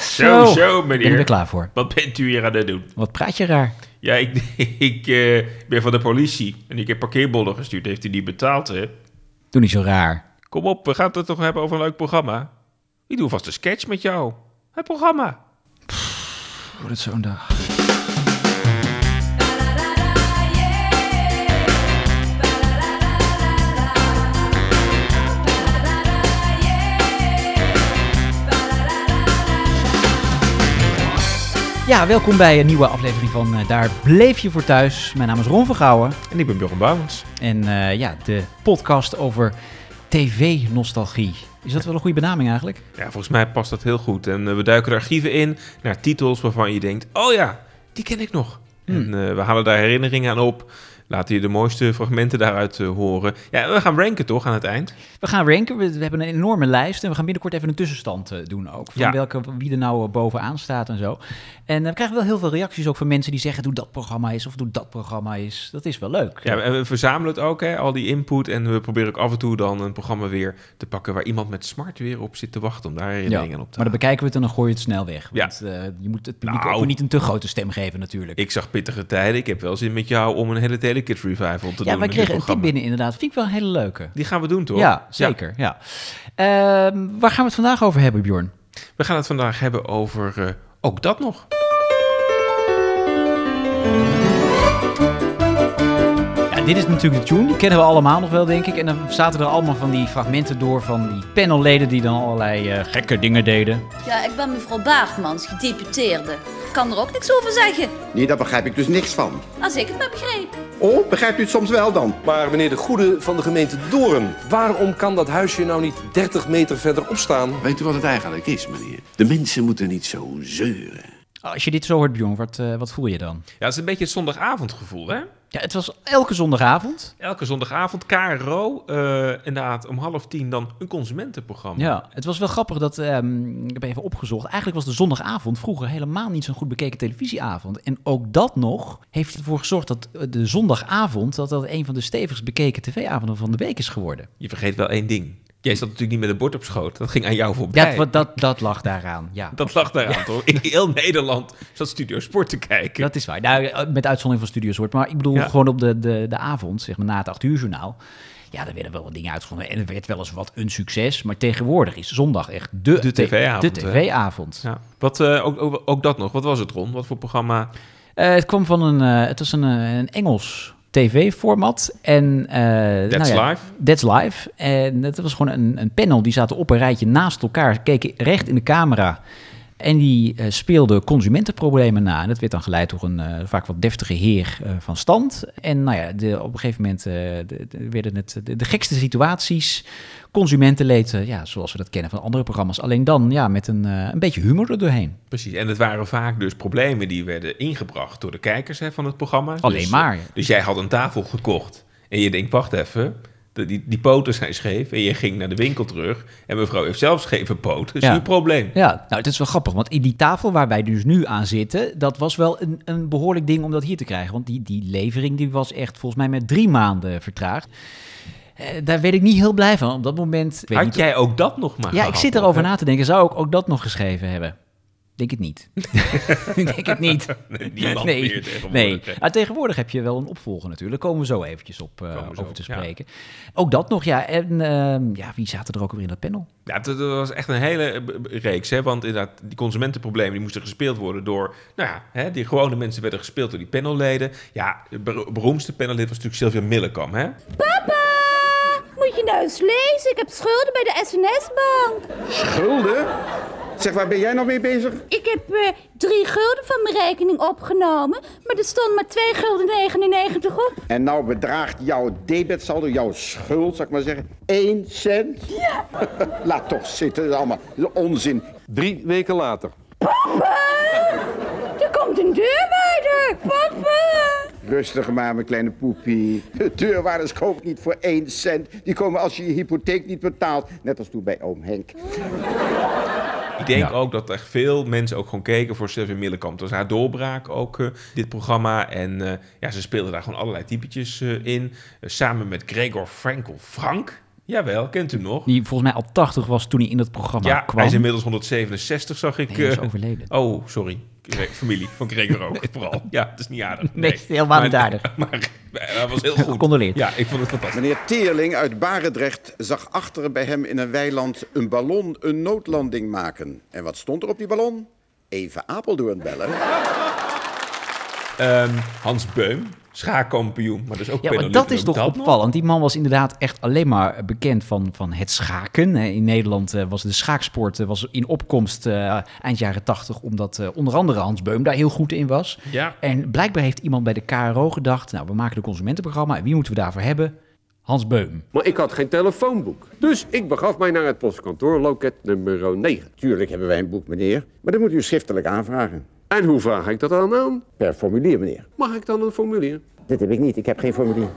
Zo, zo, Ben ik er meneer. klaar voor. Wat bent u hier aan het doen? Wat praat je raar? Ja, ik, ik eh, ben van de politie en ik heb parkeerbonnen gestuurd. Heeft u niet betaald, hè? Doe niet zo raar. Kom op, we gaan het toch hebben over een leuk programma? Ik doe vast een sketch met jou. Het programma. Wordt het zo'n dag. Ja, welkom bij een nieuwe aflevering van eh, Daar bleef je voor thuis. Mijn naam is Ron van Gouwen En ik ben Bjorn Bouwens. en eh, ja, de podcast over tv-nostalgie. Is dat wel een goede benaming eigenlijk? Ja, volgens mij past dat heel goed. En eh, we duiken de archieven in naar titels waarvan je denkt... Oh ja, die ken ik nog. Hmm. En eh, we halen daar herinneringen aan op. Laten je de mooiste fragmenten daaruit eh, horen. Ja, en we gaan ranken toch aan het eind? We gaan ranken, we, we hebben een enorme lijst en we gaan binnenkort even een tussenstand eh, doen ook. Van Ja. welke, wie er nou eh, bovenaan staat en zo. En eh, we krijgen wel heel veel reacties ook van mensen die zeggen, doe dat programma eens of doe dat programma eens. Dat is wel leuk. Ja, en we verzamelen het ook, hè, al die input. En we proberen ook af en toe dan een programma weer te pakken... waar iemand met smart weer op zit te wachten om daar herinneringen aan op te maar dan halen. bekijken we het en dan gooi je het snel weg. Ja. Want eh, je moet het publiek Nou. ook niet een te grote stem geven natuurlijk. Ik zag pittige tijden. Ik heb wel zin met jou om een hele Telekids revival te doen. ja, wij met dit kregen een tip programma. binnen inderdaad. Vind ik wel een hele leuke. Die gaan we doen, toch? Ja, zeker. Ja. Ehm, waar gaan we het vandaag over hebben, Bjorn? We gaan het vandaag hebben over eh, ook dat nog. Ja, dit is natuurlijk de tune, die kennen we allemaal nog wel, denk ik. En dan zaten er allemaal van die fragmenten door van die panelleden die dan allerlei eh, gekke dingen deden. Ja, ik ben mevrouw Baartmans, gedeputeerde. Ik kan er ook niks over zeggen, Nee, daar begrijp ik dus niks van. als ik het maar begreep. Oh, begrijpt u het soms wel dan? Maar meneer de Goede van de gemeente Doorn, waarom kan dat huisje nou niet 30 meter verderop staan? Weet u wat het eigenlijk is, meneer? De mensen moeten niet zo zeuren. Als je dit zo hoort, Bjorn, wat, eh, wat voel je dan? Ja, dat is een beetje het zondagavondgevoel, hè? Ja, het was elke zondagavond. Elke zondagavond, KRO, eh, inderdaad, om half tien dan een consumentenprogramma. Ja, het was wel grappig dat, ehm, ik heb even opgezocht, eigenlijk was de zondagavond vroeger helemaal niet zo'n goed bekeken televisieavond. En ook dat nog heeft ervoor gezorgd dat eh, de zondagavond, dat dat een van de stevigst bekeken tv-avonden van de week is geworden. Je vergeet wel één ding. Jij zat natuurlijk niet met een bord op schoot. Dat ging aan jou Ja, voorbij. dat, dat, dat lag daaraan, ja. Dat lag daaraan, toch? In heel Nederland zat Studio Sport te kijken. Dat is waar. Nou, met uitzondering van Studio Soort. Maar ik bedoel, Ja. gewoon op de, de, de avond, zeg maar na het 8 uur journaal. Ja, daar werden wel wat dingen uitgezonden. En het werd wel eens wat een succes. Maar tegenwoordig is zondag echt de, De TV-avond, de hè? TV-avond. Ja. Wat, eh, ook, ook, ook dat nog. Wat was het, Ron? Wat voor programma? Eh, het kwam van een, eh, het was een, eh, een Engels tv-format. En, eh That's nou ja, Live? That's Live. En dat was gewoon een, een panel. Die zaten op een rijtje naast elkaar, keken recht in de camera. En die eh, speelden consumentenproblemen na. En dat werd dan geleid door een eh, vaak wat deftige heer eh, van stand. En nou ja, de, op een gegeven moment eh, de- de- werden het de, de gekste situaties. Consumentenleed, eh, ja, zoals we dat kennen van andere programma's. Alleen dan ja, met een, eh, een beetje humor er doorheen. Precies, en het waren vaak dus problemen die werden ingebracht door de kijkers hè, van het programma. Alleen dus, eh, maar. Dus jij had een tafel gekocht en je denkt, wacht even, de- die, die poten zijn scheef. En je ging naar de winkel terug en mevrouw heeft zelf scheve poten, dus Ja. een probleem. Ja, nou, het is wel grappig, want in die tafel waar wij dus nu aan zitten, dat was wel een, een behoorlijk ding om dat hier te krijgen. Want die, die levering die was echt volgens mij met drie maanden vertraagd. Eh, daar werd ik niet heel blij van. Op dat moment. ik weet Had niet- jij ook dat nog maar ja, gehad, ik zit nog, erover hè? na te denken. Zou ik ook dat nog geschreven hebben? Denk het niet. ik denk het niet. Nee, niemand nee, meer nee. tegenwoordig, hè. Maar tegenwoordig heb je wel een opvolger natuurlijk. Daar komen we zo eventjes op eh, Komen we zo over te op, ja. spreken. Ook dat nog, ja. En ehm, ja, wie zaten er ook weer in dat panel? Ja, dat dat was echt een hele eh, b- b- reeks, hè, want inderdaad, die consumentenproblemen die moesten gespeeld worden door, nou ja, hè, die gewone mensen werden gespeeld door die panelleden. Ja, het ber- beroemdste panellid was natuurlijk Sylvia Millekam, hè? Papa, moet je nou eens lezen? Ik heb schulden bij de SNS-bank. Gulden? Zeg, waar ben jij nou mee bezig? Ik heb eh, drie gulden van mijn rekening opgenomen, maar er stond maar 2 gulden 99 op. En nou bedraagt jouw debetsaldo, jouw schuld, zal ik maar zeggen, 1 cent? Ja. Laat toch zitten, dat is allemaal onzin. Drie weken later. Er komt een deurwaarder, papa. Rustig maar, mijn kleine poepie. De deurwaarders kopen niet voor 1 cent. Die komen als je je hypotheek niet betaalt. Net als toen bij oom Henk. Ik denk ook dat echt veel mensen ook gewoon keken voor Sylvia Millekamp. Dat was haar doorbraak ook, eh, dit programma. En eh, ja, ze speelde daar gewoon allerlei typetjes eh, in. Eh, samen met Gregor Frankel Frank. Jawel, kent u hem nog? Die volgens mij al 80 was toen hij in dat programma ja, kwam. hij is inmiddels 167, zag ik. Nee, hij is eh, overleden. oh, sorry. Cre- Familie van Gregor ook, vooral. Ja, het is niet aardig. Nee, helemaal niet aardig. Maar eh, hij was heel goed. Gecondoleerd. Ja, ik vond het fantastisch. Meneer Teerling uit Barendrecht zag achteren bij hem in een weiland een ballon een noodlanding maken. En wat stond er op die ballon? Even Apeldoorn bellen. Ehm, Hans Beum, schaakkampioen. Maar dus ook Ja, maar Peter dat Lindner. is toch Dat nog? opvallend. Die man was inderdaad echt alleen maar bekend van, van het schaken. Eh, In Nederland eh, was de schaaksport eh, was in opkomst eh, eind jaren tachtig, omdat eh, onder andere Hans Beum daar heel goed in was. Ja. En blijkbaar heeft iemand bij de KRO gedacht, nou, we maken een consumentenprogramma. En wie moeten we daarvoor hebben? Hans Beum. Maar ik had geen telefoonboek. Dus ik begaf mij naar het postkantoor, loket nummer 9. Tuurlijk hebben wij een boek, meneer. Maar dat moet u schriftelijk aanvragen. En hoe vraag ik dat dan aan? Per formulier, meneer. Mag ik dan een formulier? Dit heb ik niet. Ik heb geen formulier.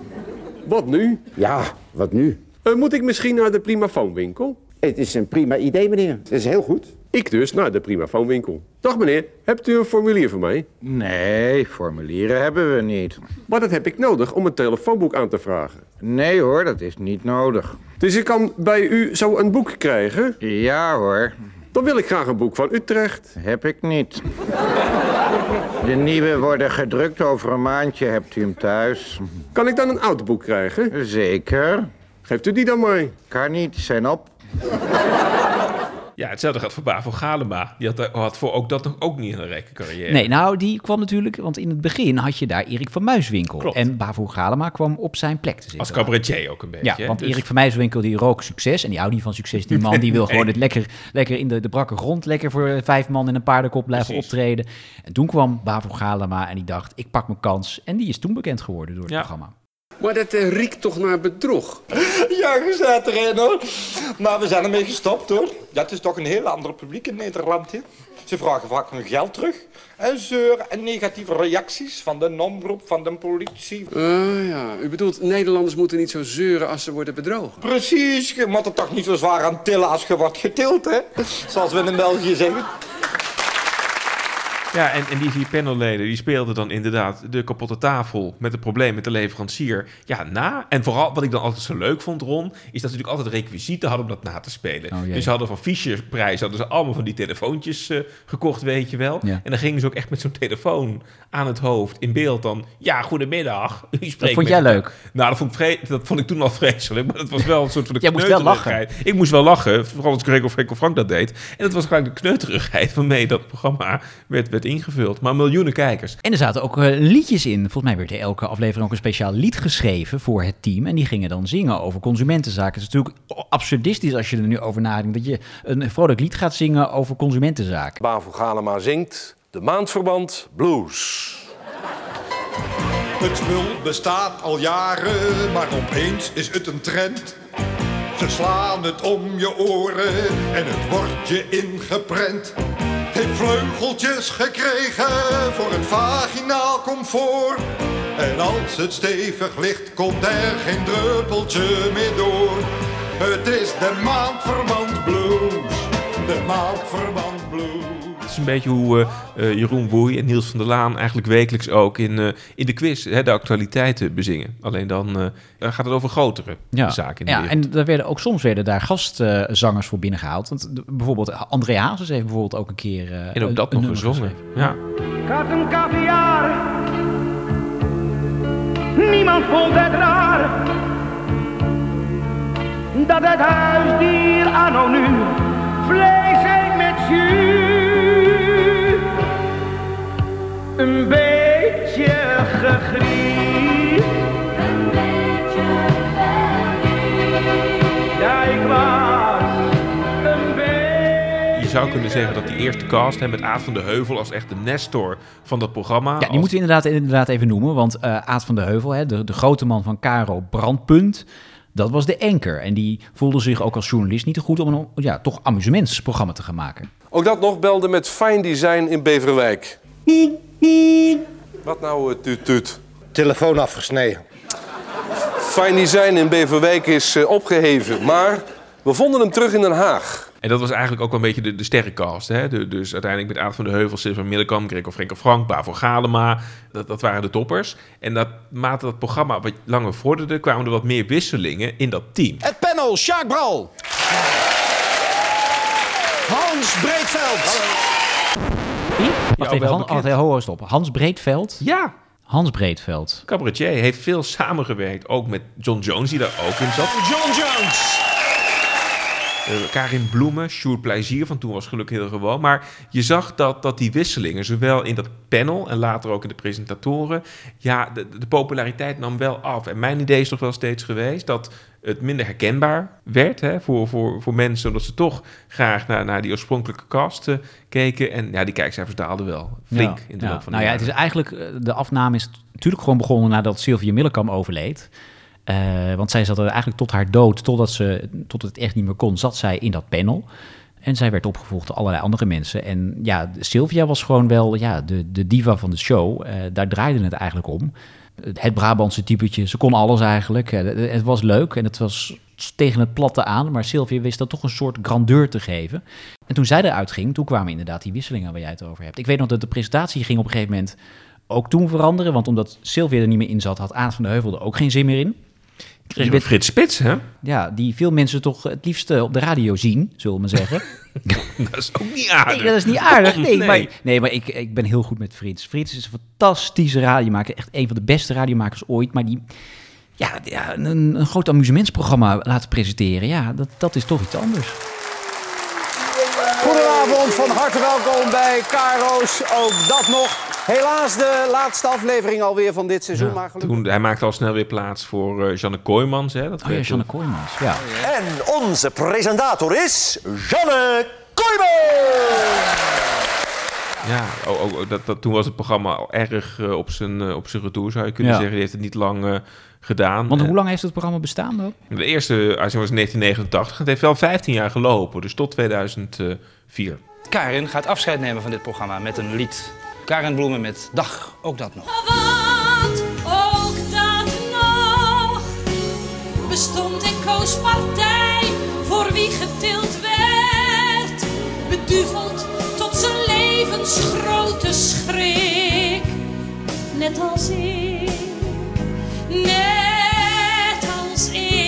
Wat nu? Ja, wat nu? Eh, moet ik misschien naar de primafoonwinkel? Het is een prima idee, meneer. Het is heel goed. Ik dus naar de primafoonwinkel. Dag meneer, hebt u een formulier voor mij? Nee, formulieren hebben we niet. Maar dat heb ik nodig om een telefoonboek aan te vragen. Nee hoor, dat is niet nodig. Dus ik kan bij u zo een boek krijgen? Ja hoor, Dan wil ik graag een boek van Utrecht. heb ik niet. De nieuwe worden gedrukt over een maandje, hebt u hem thuis? Kan ik dan een oud boek krijgen? Zeker. Geeft u die dan mij? Kan niet, zijn op. Ja, hetzelfde gaat voor Bavo Galema. Die had, eh, had voor ook dat nog ook niet een rijke carrière. Nee, nou, die kwam natuurlijk, want in het begin had je daar Erik van Muiswinkel. Klopt. En Bavo Galema kwam op zijn plek te zitten. Als cabaretier ook een beetje. Ja, hè? want Dus- Erik van Muiswinkel die rook succes en die houdt niet van succes. Die man die wil gewoon het lekker, lekker in de, de brakke grond, lekker voor eh, vijf man in een paardenkop blijven Precies. optreden. En toen kwam Bavo Galema en die dacht, ik pak mijn kans. En die is toen bekend geworden door het Ja. programma. Maar dat eh, riekt toch naar bedrog? Ja, je staat erin hoor. Maar we zijn ermee gestopt hoor. Ja, het is toch een heel ander publiek in Nederland. Hè? Ze vragen vaak hun geld terug. En zeuren en negatieve reacties van de omroep, van de politie. Ah ja, u bedoelt Nederlanders moeten niet zo zeuren als ze worden bedrogen. Precies, je moet er toch niet zo zwaar aan tillen als je wordt getild, hè? Zoals we in België zeggen. Ja, en, en die vier panelleden die speelden dan inderdaad de kapotte tafel met het probleem met de leverancier. Ja, na. En vooral wat ik dan altijd zo leuk vond, Ron, is dat ze natuurlijk altijd requisieten hadden om dat na te spelen. Oh, jee. dus ze hadden van Fischerprijs hadden ze allemaal van die telefoontjes eh, gekocht, weet je wel. Ja. En dan gingen ze ook echt met zo'n telefoon aan het hoofd in beeld dan. Ja, goedemiddag. U spreekt Dat vond met- jij leuk? Nou, dat vond, ik vre- dat vond ik toen al vreselijk, maar dat was wel een soort van de Jij moest wel kneuterigheid. Ik moest wel lachen, vooral als Gregor Frankel Frank dat deed. En dat was gelijk de kneuterigheid waarmee dat programma werd, werd ingevuld. Maar miljoenen kijkers. En er zaten ook eh, liedjes in. Volgens mij werd er elke aflevering ook een speciaal lied geschreven voor het team. En die gingen dan zingen over consumentenzaken. Het is natuurlijk absurdistisch als je er nu over nadenkt. Dat je een vrolijk lied gaat zingen over consumentenzaken. Bavo Galema zingt de maandverband blues. Het spul bestaat al jaren, maar opeens is het een trend. Ze slaan het om je oren en het wordt je ingeprent. Heeft vleugeltjes gekregen voor het vaginaal comfort. En als het stevig ligt, komt er geen druppeltje meer door. Het is de maandverband blues, de maandverband blues. Dat is een beetje hoe eh, eh, Jeroen Woei en Niels van der Laan eigenlijk wekelijks ook in, eh, in de quiz hè, de actualiteiten bezingen. Alleen dan eh, dan gaat het over grotere zaken in de ja, wereld. en daar werden ook soms werden daar gastzangers voor binnengehaald. Want de- bijvoorbeeld eh, André Hazes heeft bijvoorbeeld ook een keer. eh, En ook een- dat een nog nummer gezongen. geschreven. Ja. Katten caviar. Niemand vond het raar dat het huisdier anno nu vlees eet met jus. Een beetje gegriefd. Ja, ik was een beetje... Je zou kunnen zeggen dat die eerste cast, hè, met Aad van de Heuvel als echt de nestor van dat programma. Ja, die als- moeten we inderdaad, inderdaad even noemen. Want eh, Aad van de Heuvel, hè, de, de grote man van Caro Brandpunt. Dat was de anker. En die voelde zich ook als journalist niet te goed om een ja, toch amusementsprogramma te gaan maken. Ook dat nog belde met fijn design in Beverwijk. Wat nou eh, tuut tuut? Telefoon afgesneden. Fijn design in Beverwijk is eh, opgeheven, maar we vonden hem terug in Den Haag. En En dat was eigenlijk ook wel een beetje de, de sterrencast. Hè? De- dus uiteindelijk met Aad van de Heuvel, Silvan Middelkamp, Gregor Frenkel Frank, Bavo Galema. Dat, dat waren de toppers. En naarmate dat programma wat langer vorderde, kwamen er wat meer wisselingen in dat team. Het panel, Sjaak Bral. Hans Breedveld. Wie? Wacht wel even, Han, bekend. wacht, ho, ho, stop. Hans Breedveld? Ja. Hans Breedveld. Cabaretier heeft veel samengewerkt, ook met John Jones, die daar ook in zat. John Jones. Eh, Karin Bloemen, Sjoerd Plezier van toen was gelukkig heel gewoon. Maar je zag dat, dat die wisselingen, zowel in dat panel en later ook in de presentatoren, ja, de, de populariteit nam wel af. En mijn idee is toch wel steeds geweest dat het minder herkenbaar werd hè, voor, voor, voor mensen, omdat ze toch graag naar, naar die oorspronkelijke cast eh, keken. En ja, die kijkcijfers daalden wel flink Ja, in de ja. loop van de Nou ja, het is jaren. eigenlijk, eh, de afname is natuurlijk gewoon begonnen nadat Sylvia Millekam overleed. Eh, want zij zat er eigenlijk tot haar dood, totdat ze tot het echt niet meer kon, zat zij in dat panel. En zij werd opgevolgd door allerlei andere mensen. En ja, Sylvia was gewoon wel ja, de, de diva van de show. Eh, daar draaide het eigenlijk om. Het Brabantse typetje, ze kon alles eigenlijk. Eh, het- het was leuk en het was tegen het platte aan. Maar Sylvia wist dat toch een soort grandeur te geven. En toen zij eruit ging, toen kwamen inderdaad die wisselingen waar jij het over hebt. Ik weet nog dat de presentatie ging op een gegeven moment ook toen veranderen. Want omdat Sylvia er niet meer in zat, had Aad van de Heuvel er ook geen zin meer in. Kreeg je wat Frits Spits, hè? Ja, die veel mensen toch het liefst eh, op de radio zien, zullen we maar zeggen. Dat is ook niet aardig. Nee, dat is niet aardig. Nee, Nee. maar, nee, maar ik, ik ben heel goed met Frits. Frits is een fantastische radiomaker. Echt een van de beste radiomakers ooit. Maar die ja, ja, een, een groot amusementsprogramma laten presenteren. Ja, dat, dat is toch iets anders. Goedenavond, van harte welkom bij Karo's. Ook dat nog. Helaas de laatste aflevering alweer van dit seizoen. Maar gelukkig. Toen, hij maakte al snel weer plaats voor eh Janne Kooijmans. Hè? Dat Oh ja, Janne Kooijmans. Ja. En onze presentator is Janne Kooijman. Ja, oh, oh, oh, dat, dat, toen was het programma al erg eh, op, zijn, eh, op zijn retour, zou je kunnen Ja. zeggen. Die heeft het niet lang eh, gedaan. Want Eh, hoe lang heeft het programma bestaan dan? de eerste uitzending was in 1989. Het heeft wel 15 jaar gelopen, dus tot 2004. Karin gaat afscheid nemen van dit programma met een lied. Karin Bloemen met Dag, ook dat nog. Wat ook dat nog, bestond en koos partij voor wie getild werd, beduveld tot zijn levensgrote schrik. Net als ik, net als ik.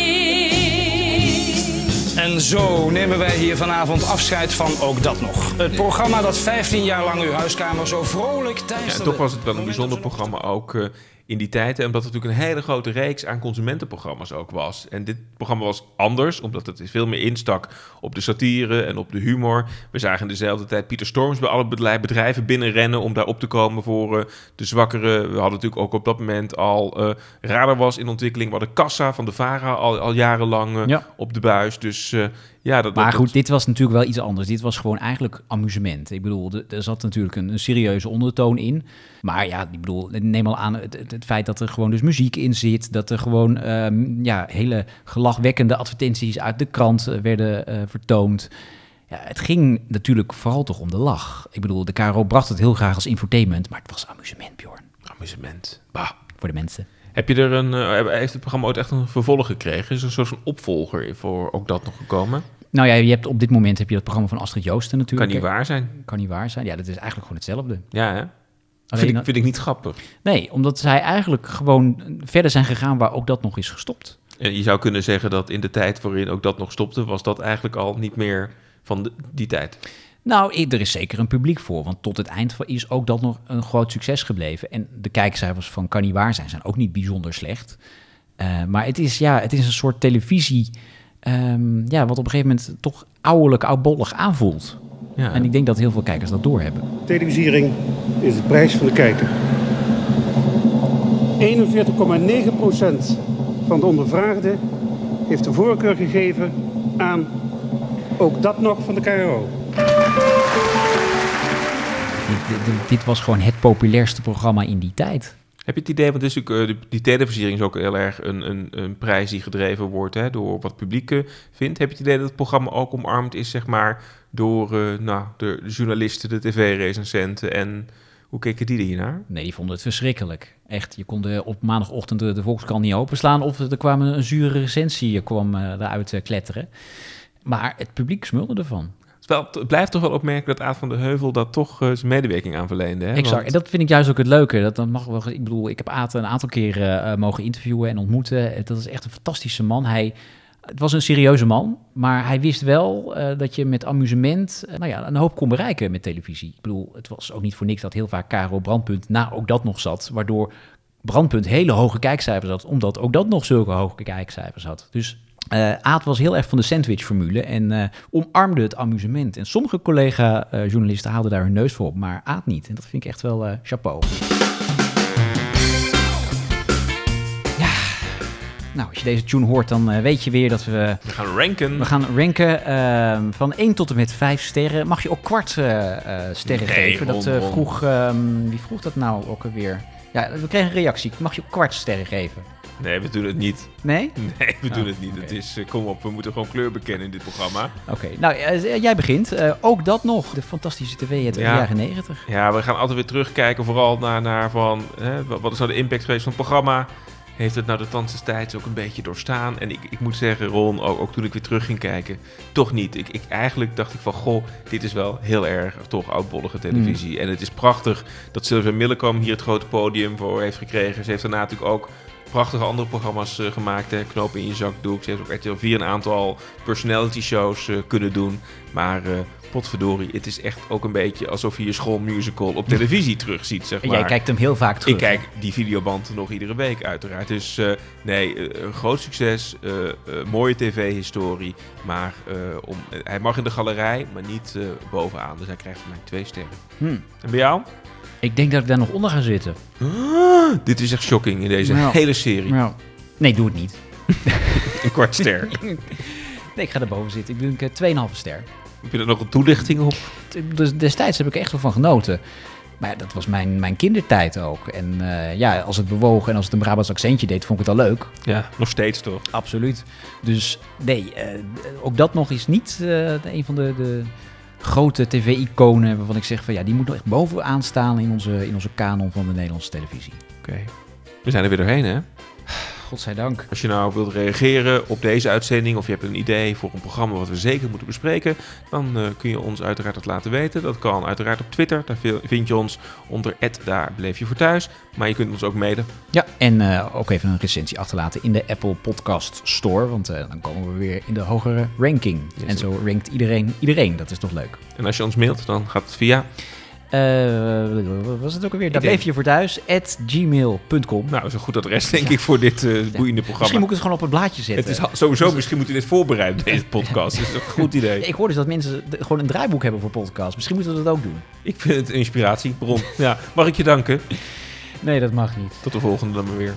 En zo nemen wij hier vanavond afscheid van ook dat nog. Het programma dat 15 jaar lang uw huiskamer zo vrolijk Ja, en teisterde. toch was het wel een bijzonder programma ook eh, in die tijd. En omdat het natuurlijk een hele grote reeks aan consumentenprogramma's ook was. En dit programma was anders, omdat het veel meer instak op de satire en op de humor. We zagen in dezelfde tijd Pieter Storms bij alle bedrij- bedrijven binnenrennen om daar op te komen voor eh, de zwakkeren. We hadden natuurlijk ook op dat moment al eh, Radar was in ontwikkeling. We hadden Kassa van de Vara al, al jarenlang eh, Ja. op de buis. Dus eh, ja, dat, Maar dat- goed, dit was natuurlijk wel iets anders. Dit was gewoon eigenlijk amusement. Ik bedoel, er- er zat natuurlijk een, een serieuze ondertoon in. Maar ja, ik bedoel, neem al aan het, het, het feit dat er gewoon dus muziek in zit. Dat er gewoon ehm, ja, hele gelachwekkende advertenties uit de krant eh, werden eh, vertoond. Ja, het ging natuurlijk vooral toch om de lach. Ik bedoel, de KRO bracht het heel graag als infotainment, maar het was amusement, Bjorn. Amusement. Bah. Voor de mensen. Heb je er een, eh, heeft het programma ooit echt een vervolg gekregen? Is er een soort van opvolger voor ook dat nog gekomen? Nou ja, je hebt op dit moment heb je dat programma van Astrid Joosten natuurlijk. Kan niet waar zijn. Kan niet waar zijn. Ja, dat is eigenlijk gewoon hetzelfde. Ja, hè? Alleen Vind ik, dat- vind ik niet grappig. Nee, omdat zij eigenlijk gewoon verder zijn gegaan waar ook dat nog is gestopt. En Eh, je zou kunnen zeggen dat in de tijd waarin ook dat nog stopte, was dat eigenlijk al niet meer van de- die tijd. Nou, i- er is zeker een publiek voor, want tot het eind van- is ook dat nog een groot succes gebleven. En de kijkcijfers van Kan Niet Waar Zijn zijn ook niet bijzonder slecht. Eh, maar het is, ja, het is een soort televisie ehm, ja, wat op een gegeven moment toch ouderlijk, oudbollig aanvoelt. Ja. En ik denk dat heel veel kijkers dat doorhebben. Televisiering is de prijs van de kijker. 41,9% van de ondervraagden heeft de voorkeur gegeven aan ook dat nog van de KRO. Dit, dit- dit- dit was gewoon het populairste programma in die tijd. Heb je het idee, want het is natuurlijk, eh, de- die televisiering is ook heel erg een, een, een prijs die gedreven wordt hè, door wat het publiek eh, vindt. Heb je het idee dat het programma ook omarmd is, zeg maar, door eh, nou, de journalisten, de tv-recensenten en hoe keken die hiernaar? Nee, die vonden het verschrikkelijk. Echt, je kon de, op maandagochtend de, de Volkskrant niet openslaan... of er kwam een, een zure recensie je kwam, eh, eruit eh, kletteren. Maar het publiek smulde ervan. Terwijl het blijft toch wel opmerken dat Aad van de Heuvel daar toch eh, zijn medewerking aan verleende. Hè? Exact. Want- En dat vind ik juist ook het leuke. Dat dan mag wel, ik bedoel, ik heb Aad een aantal keren eh, mogen interviewen en ontmoeten. Eh, Dat is echt een fantastische man. Hij, het was een serieuze man, maar hij wist wel eh, dat je met amusement eh, nou ja, een hoop kon bereiken met televisie. Ik bedoel, het was ook niet voor niks dat heel vaak Caro Brandpunt na ook dat nog zat. Waardoor Brandpunt hele hoge kijkcijfers had, omdat ook dat nog zulke hoge kijkcijfers had. Dus eh Aad was heel erg van de sandwichformule en eh, omarmde het amusement. En sommige collega-journalisten haalden daar hun neus voor op, maar Aad niet. En dat vind ik echt wel eh, chapeau. Ja, nou, als je deze tune hoort, dan eh, weet je weer dat we... We gaan ranken. We gaan ranken ehm, van 1 tot en met 5 sterren. Mag je ook kwart eh, eh, sterren Nee, geven? Dat eh, hon, hon. vroeg... ehm, wie vroeg dat nou ook alweer? Ja, we kregen een reactie. Mag je ook kwart sterren geven? Nee, we doen het niet. Nee? Nee, we doen Oh, het niet. Het is, eh, kom op, we moeten gewoon kleur bekennen in dit programma. Oké, nou, eh, jij begint. Eh, ook dat nog. De fantastische tv uit de jaren 90. Ja, we gaan altijd weer terugkijken vooral naar, naar van, hè, wa- wat is nou de impact geweest van het programma? Heeft het nou de tand des tijds ook een beetje doorstaan? En ik, ik moet zeggen, Ron, ook, ook toen ik weer terug ging kijken, toch niet. Ik, ik, eigenlijk dacht ik van, goh, dit is wel heel erg toch oudbollige televisie. Mm. En het is prachtig dat Sylvia Millekam hier het grote podium voor heeft gekregen. Ze heeft daarna natuurlijk ook prachtige andere programma's eh, gemaakt. Hè? Knopen in je zakdoek. Ze heeft ook RTL 4 een aantal personality shows eh, kunnen doen. Maar eh, potverdorie, het is echt ook een beetje alsof je je schoolmusical op televisie terugziet, zeg En maar. jij kijkt hem heel vaak terug, Ik kijk die videoband nog iedere week, uiteraard. Dus eh, nee, eh, een groot succes. eh, eh, mooie tv-historie. Maar eh, om, eh, hij mag in de galerij, maar niet eh, bovenaan. Dus hij krijgt van mij twee sterren. Hmm. En bij jou? Ik denk dat ik daar nog onder ga zitten. Dit is echt shocking in deze Nou, hele serie. nou. Nee, doe het niet. Een kwart ster. Nee, ik ga erboven zitten. Ik denk eh, 2,5 ster. Heb je daar nog een toelichting op? Dus destijds heb ik er echt wel van genoten. Maar ja, dat was mijn, mijn kindertijd ook. En eh, ja, als het bewoog en als het een Brabants accentje deed, vond ik het al leuk. Ja, nog steeds toch? Absoluut. Dus nee, eh, ook dat nog is niet eh, een van de, de grote tv-iconen waarvan ik zeg van ja, die moet nog echt bovenaan staan in onze, in onze kanon van de Nederlandse televisie. Oké. We zijn er weer doorheen, hè? Godzijdank. Als je nou wilt reageren op deze uitzending of je hebt een idee voor een programma wat we zeker moeten bespreken, dan eh, kun je ons uiteraard dat laten weten. Dat kan uiteraard op Twitter. Daar vi- vind je ons onder daar bleef je voor thuis. Maar je kunt ons ook mailen. Ja, en eh, ook even een recensie achterlaten in de Apple Podcast Store, want eh, dan komen we weer in de hogere ranking. En zo rankt iedereen iedereen, dat is toch leuk. En als je ons mailt, dan gaat het via. Eh, wat was het ook alweer? Daar denk- bleef je voor thuis, at gmail.com. Nou, dat is een goed adres, denk ik, voor dit eh, boeiende programma. Misschien moet ik het gewoon op het blaadje zetten. Het is ha- sowieso, misschien moeten we dit voorbereiden, deze podcast. Dat is een goed idee. Ik hoor dus dat mensen de- gewoon een draaiboek hebben voor podcasts. Misschien moeten we dat ook doen. Ik vind het een inspiratiebron. Ja, mag ik je danken? Nee, dat mag niet. Tot de volgende dan maar weer.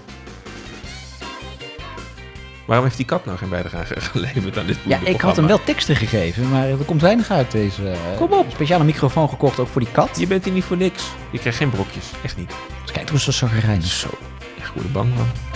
Waarom heeft die kat nou geen bijdrage geleverd aan dit Ja, ik had hem programma? wel teksten gegeven, maar er komt weinig uit deze. eh, Kom op. Speciale microfoon gekocht, ook voor die kat. Je bent hier niet voor niks. Je krijgt geen brokjes. Echt niet. Dus kijk hoe ze zo gereinigd. Zo. Echt goede bang van.